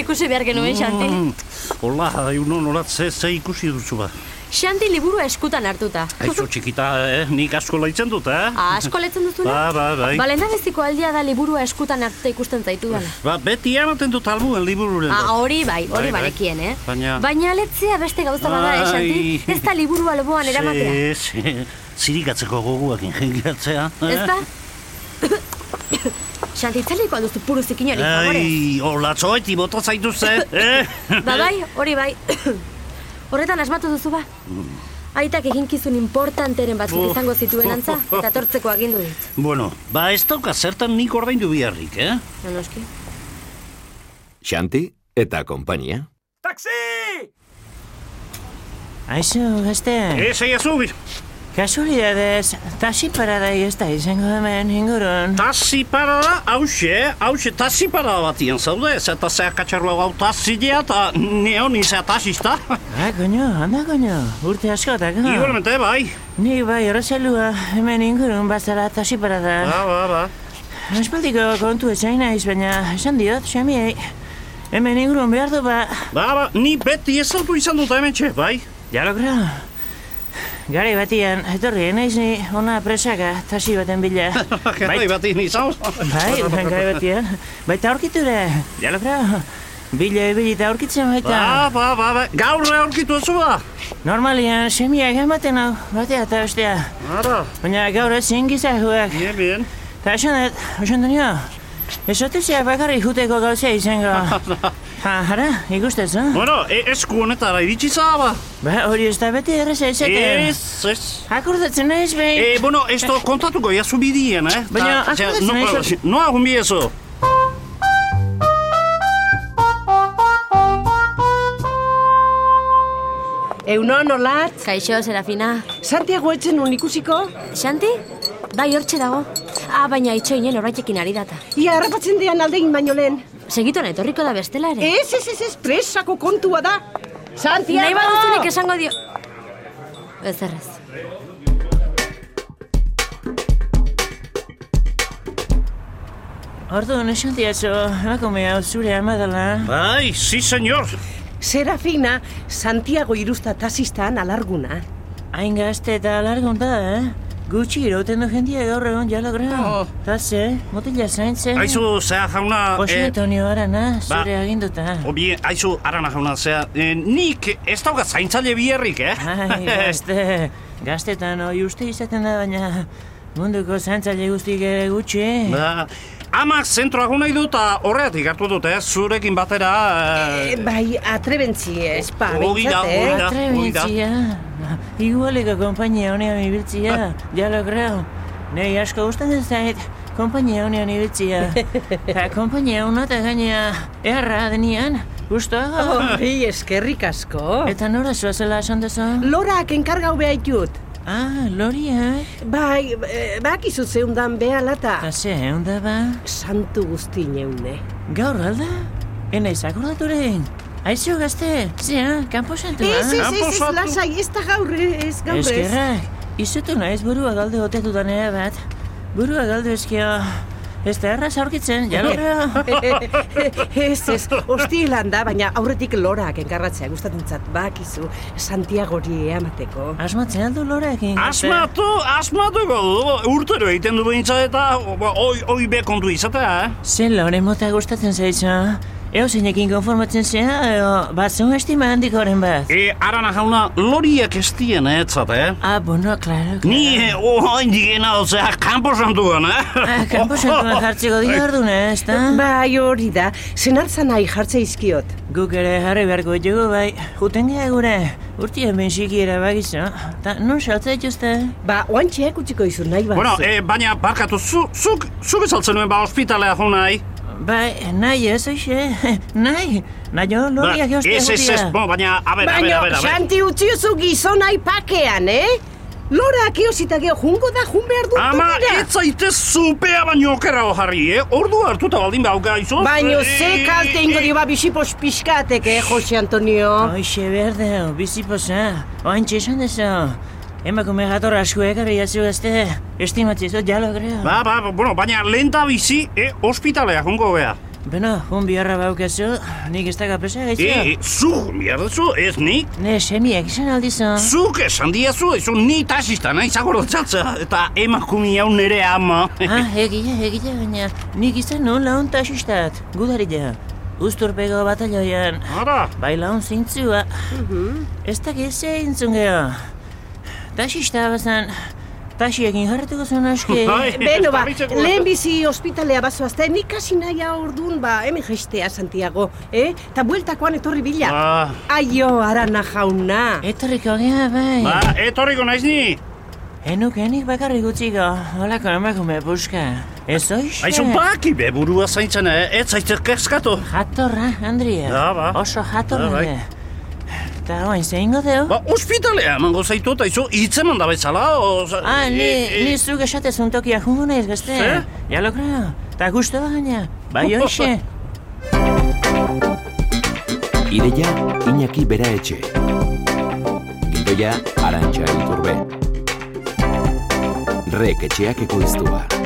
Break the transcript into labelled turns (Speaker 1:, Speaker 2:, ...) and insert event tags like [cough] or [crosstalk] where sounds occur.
Speaker 1: ikusi behar genuen,
Speaker 2: Mm.
Speaker 1: Xanti.
Speaker 2: Hola, iuno norat ze, ze ikusi duzu ba.
Speaker 1: Xanti liburua eskutan hartuta.
Speaker 2: Aizu txikita, eh? nik asko laitzen dut, eh?
Speaker 1: [laughs] Asko letzen duzuna?
Speaker 2: Ba, ba, bai.
Speaker 1: Ba, lehendabiziko aldia da liburua eskutan hartuta ikusten zaitu
Speaker 2: [laughs]
Speaker 1: dala.
Speaker 2: Ba, beti ematen dut albuen libururen.
Speaker 1: Ah, hori bai, hori
Speaker 2: Bai, bai.
Speaker 1: banekien, eh?
Speaker 2: Baina-
Speaker 1: letzea beste gauza bada, eh, Xanti?
Speaker 2: Ai.
Speaker 1: Ez da liburua
Speaker 2: [laughs]
Speaker 1: loboan eramatea.
Speaker 2: Ze, ze, zirikatzeko eh? goguak ingeniatzea.
Speaker 1: Ez
Speaker 2: [laughs]
Speaker 1: da? Xanti, itzaliko alduzu puruzik inori, favorez.
Speaker 2: Ai, olatzoeti bota zaituzte, eh?
Speaker 1: [laughs] Ba, bai, hori bai. [coughs] Horretan asmatu duzu ba?
Speaker 2: Mm.
Speaker 1: Aitak eginkizun importanteren batzuk
Speaker 2: Oh.
Speaker 1: izango zituen
Speaker 2: [laughs]
Speaker 1: antza, eta tortzeko agindu dit.
Speaker 2: bueno, ba ez dauka zertan nik ordaindu biharrik, eh?
Speaker 1: No, noski.
Speaker 3: Xanti eta konpainia.
Speaker 4: Taxi!
Speaker 5: Aizu, gazte,
Speaker 2: Ez aia zubir,
Speaker 5: kasualidadez, tasi paradai ez da izango hemen ingurun.
Speaker 2: tazi parada, hause, hause tazi parada batian zaude, ez eta zea katxarroa gau tazilea eta neon izea tazista.
Speaker 5: Ah, koño, anda, koño, urte askotako.
Speaker 2: Igualmente, bai.
Speaker 5: Ni bai horrezelua, hemen ingurun bazara tasi parada.
Speaker 2: Ba, ba, ba.
Speaker 5: Aspaldiko kontu ezain naiz, baina esan diot, xamiei. Hemen ingurun behar du ba,
Speaker 2: Ba, ba, ni beti ez autu izan dut hemen txe, bai.
Speaker 5: jalokra. Gari batian, etorri naiz ni ona presaka tasi baten bila.
Speaker 2: Bai, bati nizan.
Speaker 5: Bai, gai batia. Baita aurkiture, jalokra. Bila ibili eta aurkitzen baita.
Speaker 2: Ba, ba, ba, ba, gaur aurkitu ez ba.
Speaker 5: Normalian, semiak ematen hau, batea eta bestea.
Speaker 2: Ara,
Speaker 5: Baina gaur ezin gizahuak.
Speaker 2: bien, bien.
Speaker 5: Ta esan dut, esan dunio, esotizia bakarrik juteko gauzea
Speaker 2: [laughs]
Speaker 5: izango. Ha, hara, ikustez, no?
Speaker 2: Bueno, e, esku honetara iritsi zaba.
Speaker 5: Ba, hori ez da beti erreza izaten.
Speaker 2: Ez, ez.
Speaker 5: Akordatzen naiz behin.
Speaker 2: E, bueno, esto kontatuko jazu bidien, eh?
Speaker 5: Baina,
Speaker 2: Ta- ja,
Speaker 5: akordatzen
Speaker 2: no,
Speaker 5: naizu-
Speaker 2: noa gumbi ezo.
Speaker 6: Euno nolat,
Speaker 1: Kaixo, Serafina.
Speaker 6: Santiago etzen un ikusiko,
Speaker 1: Xanti? Bai, hortxe dago. Ah, baina itxoinen horbaitekin ari data.
Speaker 6: ia harrapatzen dean aldein baino lehen.
Speaker 1: Segituan etorriko da bestela ere.
Speaker 6: Ez, ez, ez, ez, presako kontua da. Santiago!
Speaker 1: Nahi baduzunik esango dio... Ez errez.
Speaker 5: Orduan esan diazu, emakume hau zure ama dela.
Speaker 2: Bai, si, senyor.
Speaker 6: Serafina, Santiago iruzta tasistan alarguna.
Speaker 5: Hain gazte eta largun da, eh? Gutxi irauten du jendia gaur egon jalogra. Ta ze, motila zaintzen.
Speaker 2: Oh. Aizu, zea jauna...
Speaker 5: Jose
Speaker 2: eh,
Speaker 5: Antonio Arana,
Speaker 2: ba-
Speaker 5: zure aginduta.
Speaker 2: Obi, aizu, arana jauna, zea, eh, nik ez daukat zaintzaile biherrik, eh? [laughs]
Speaker 5: Ai, gazte, gaztetan hoi uste izaten da, baina munduko zantzaile guztik ere gutxi.
Speaker 2: Ba, amak zentroa nahi du eta horregatik hartu dute, eh? zurekin batera...
Speaker 6: Eh,
Speaker 2: Eh,
Speaker 6: bai, atrebentzi, espa,
Speaker 2: Hori da,
Speaker 6: behintzat,
Speaker 2: hori
Speaker 6: eh?
Speaker 2: da.
Speaker 5: Atrebentzia, igualeko kompainia honean ibiltzia, jalo grau. Nei asko gustatzen ez zait, kompainia honean ibiltzia. Ta kompainia hona eta gainea erra denian, gustoago.
Speaker 6: Hori, eskerrik asko.
Speaker 5: Eta nora zoazela esan duzu?
Speaker 6: Lorak enkargau behaitut.
Speaker 5: Ah, loria,
Speaker 6: Bai, eh, bakizu zeundan behalata.
Speaker 5: eta ze, eunda ba?
Speaker 6: Santu guztin eune.
Speaker 5: Gaur alda? Ena izakordaturen. Aizu gazte, zea, kanpo
Speaker 1: Ba.
Speaker 5: ah. santua.
Speaker 6: Ez, ez, ez, ez,
Speaker 2: Kanposatu.
Speaker 6: lasai, ez da gaur, eh, ez gaur ez.
Speaker 5: Eskerrak, izutu naiz burua galde ote dudan ere bat. Burua galde eskio, ez da erraz aurkitzen, jalorra.
Speaker 6: [laughs] ez, ez, ostilan da, baina aurretik lorak enkarratzea gustatzen zat, bakizu, Santiagori eamateko.
Speaker 5: Asmatzen aldu lorekin. gazte.
Speaker 2: Asmatu, asmatuko du, urtero egiten du behintzat eta ba, oi, oi bekontu izatea, eh?
Speaker 5: Ze lore mota gustatzen zaizu. Eo zeinekin konformatzen zea, eo, batzun estima handik horren
Speaker 6: Eh.
Speaker 5: bat.
Speaker 2: E, arana jauna, loriak ez dien etzat, eh?
Speaker 5: Ah, bueno, klaro, klaro.
Speaker 2: Ni, eh, ohain digena, ozea, kanpo santuan, eh?
Speaker 5: Ah, kanpo santuan jartzeko dira orduna, ez da?
Speaker 6: [laughs] Bai, hori da, senartza nahi jartze izkiot.
Speaker 5: Guk ere jarri beharko ditugu bai, juten gea gure, urtien bensiki erabakizu. Ta, nun saltza dituzte?
Speaker 6: Ba, oantxe utziko izun nahi bat.
Speaker 2: Bueno, e, baina barkatu, zu, zuk, zuk esaltzen nuen ba ospitalea junai.
Speaker 5: Bai, nahi ez, oixe, [laughs] nahi, nahi loriak
Speaker 2: Ba, ez,
Speaker 5: jostea
Speaker 2: ez, ez,
Speaker 5: gutia.
Speaker 2: bo, baina, a ber, a ber,
Speaker 6: Baina,
Speaker 2: a ber, a ber.
Speaker 6: Santi utziozu gizona ipakean, eh? Lorak iosita geho, jungo da, jun behar dut
Speaker 2: Ama,
Speaker 6: dutera.
Speaker 2: ez zaitez zupea baino okerago jarri, eh? Ordu hartuta baldin bauka, izo?
Speaker 6: Baino,
Speaker 2: Eh,
Speaker 6: ze kalte ingo dio ba bisipos pixkatek, eh, Jose
Speaker 5: Bai.
Speaker 6: Antonio?
Speaker 5: Oixe berdeo, biziposa, oantxe esan dezo. Emakume jator asko ekarri jatzu gazte, estimatzi zut jalo greo.
Speaker 2: E, Ba, ba, bueno, baina lenta bizi, eh, ospitalea jungo bea.
Speaker 5: Beno, un biharra baukazu, nik ez daga pesa gaitzu.
Speaker 2: E, zuk mierdezu, ez nik?
Speaker 5: Ne, semiak izan aldizu.
Speaker 2: Zuk esan diazu, ez ni taxista nahi zagorotzatza, eta emakume hau nere
Speaker 5: [laughs]
Speaker 2: ama.
Speaker 5: Ah, egia, egia, baina nik izan non laun tasistat, gudarila. Uzturpego bataloian,
Speaker 2: Ara,
Speaker 5: bai laun zintzua.
Speaker 2: Mhm.
Speaker 5: Ez dakit zeintzun geho. Tasista bazan, tasiekin jarretuko zuen aski.
Speaker 2: [laughs] Bai.
Speaker 6: [laughs] Beno ba,
Speaker 2: Eta bitzeko-
Speaker 6: lehen bizi ospitalea bazoazte, nik hasi naia ordun ba, hemen jaistea, Santiago, eh? Eta bueltakoan etorri bila.
Speaker 2: Ah.
Speaker 6: Aio, arana jauna.
Speaker 5: Etorriko geha, bai.
Speaker 2: ba, etorriko naiz ni.
Speaker 5: Enukenik bakarrik utziko, holako emakume puska. Ez oixe?
Speaker 2: Aizun baki be burua zaintzen, eh, ez zaitez kezkatu.
Speaker 5: Jatorra, Andria.
Speaker 2: Da, ba.
Speaker 5: Oso jatorra.
Speaker 2: Da, bai.
Speaker 5: de. Eta oain zeingo deu?
Speaker 2: Ba, ospitalea emango zaitu, eta izu hitzeman da bezala, oz...
Speaker 5: Ah, ni,
Speaker 2: e- e-
Speaker 5: ni zuk esatezun tokia jungo naiz gazte.
Speaker 2: Ze?
Speaker 5: Ja lo creo. Ta gusto gaina. Bai
Speaker 2: [laughs]
Speaker 5: hoxe.
Speaker 3: Ideia Iñaki Bera Etxe. Gidoia Arantxa Iturbe. Rek etxeak ekoiztua.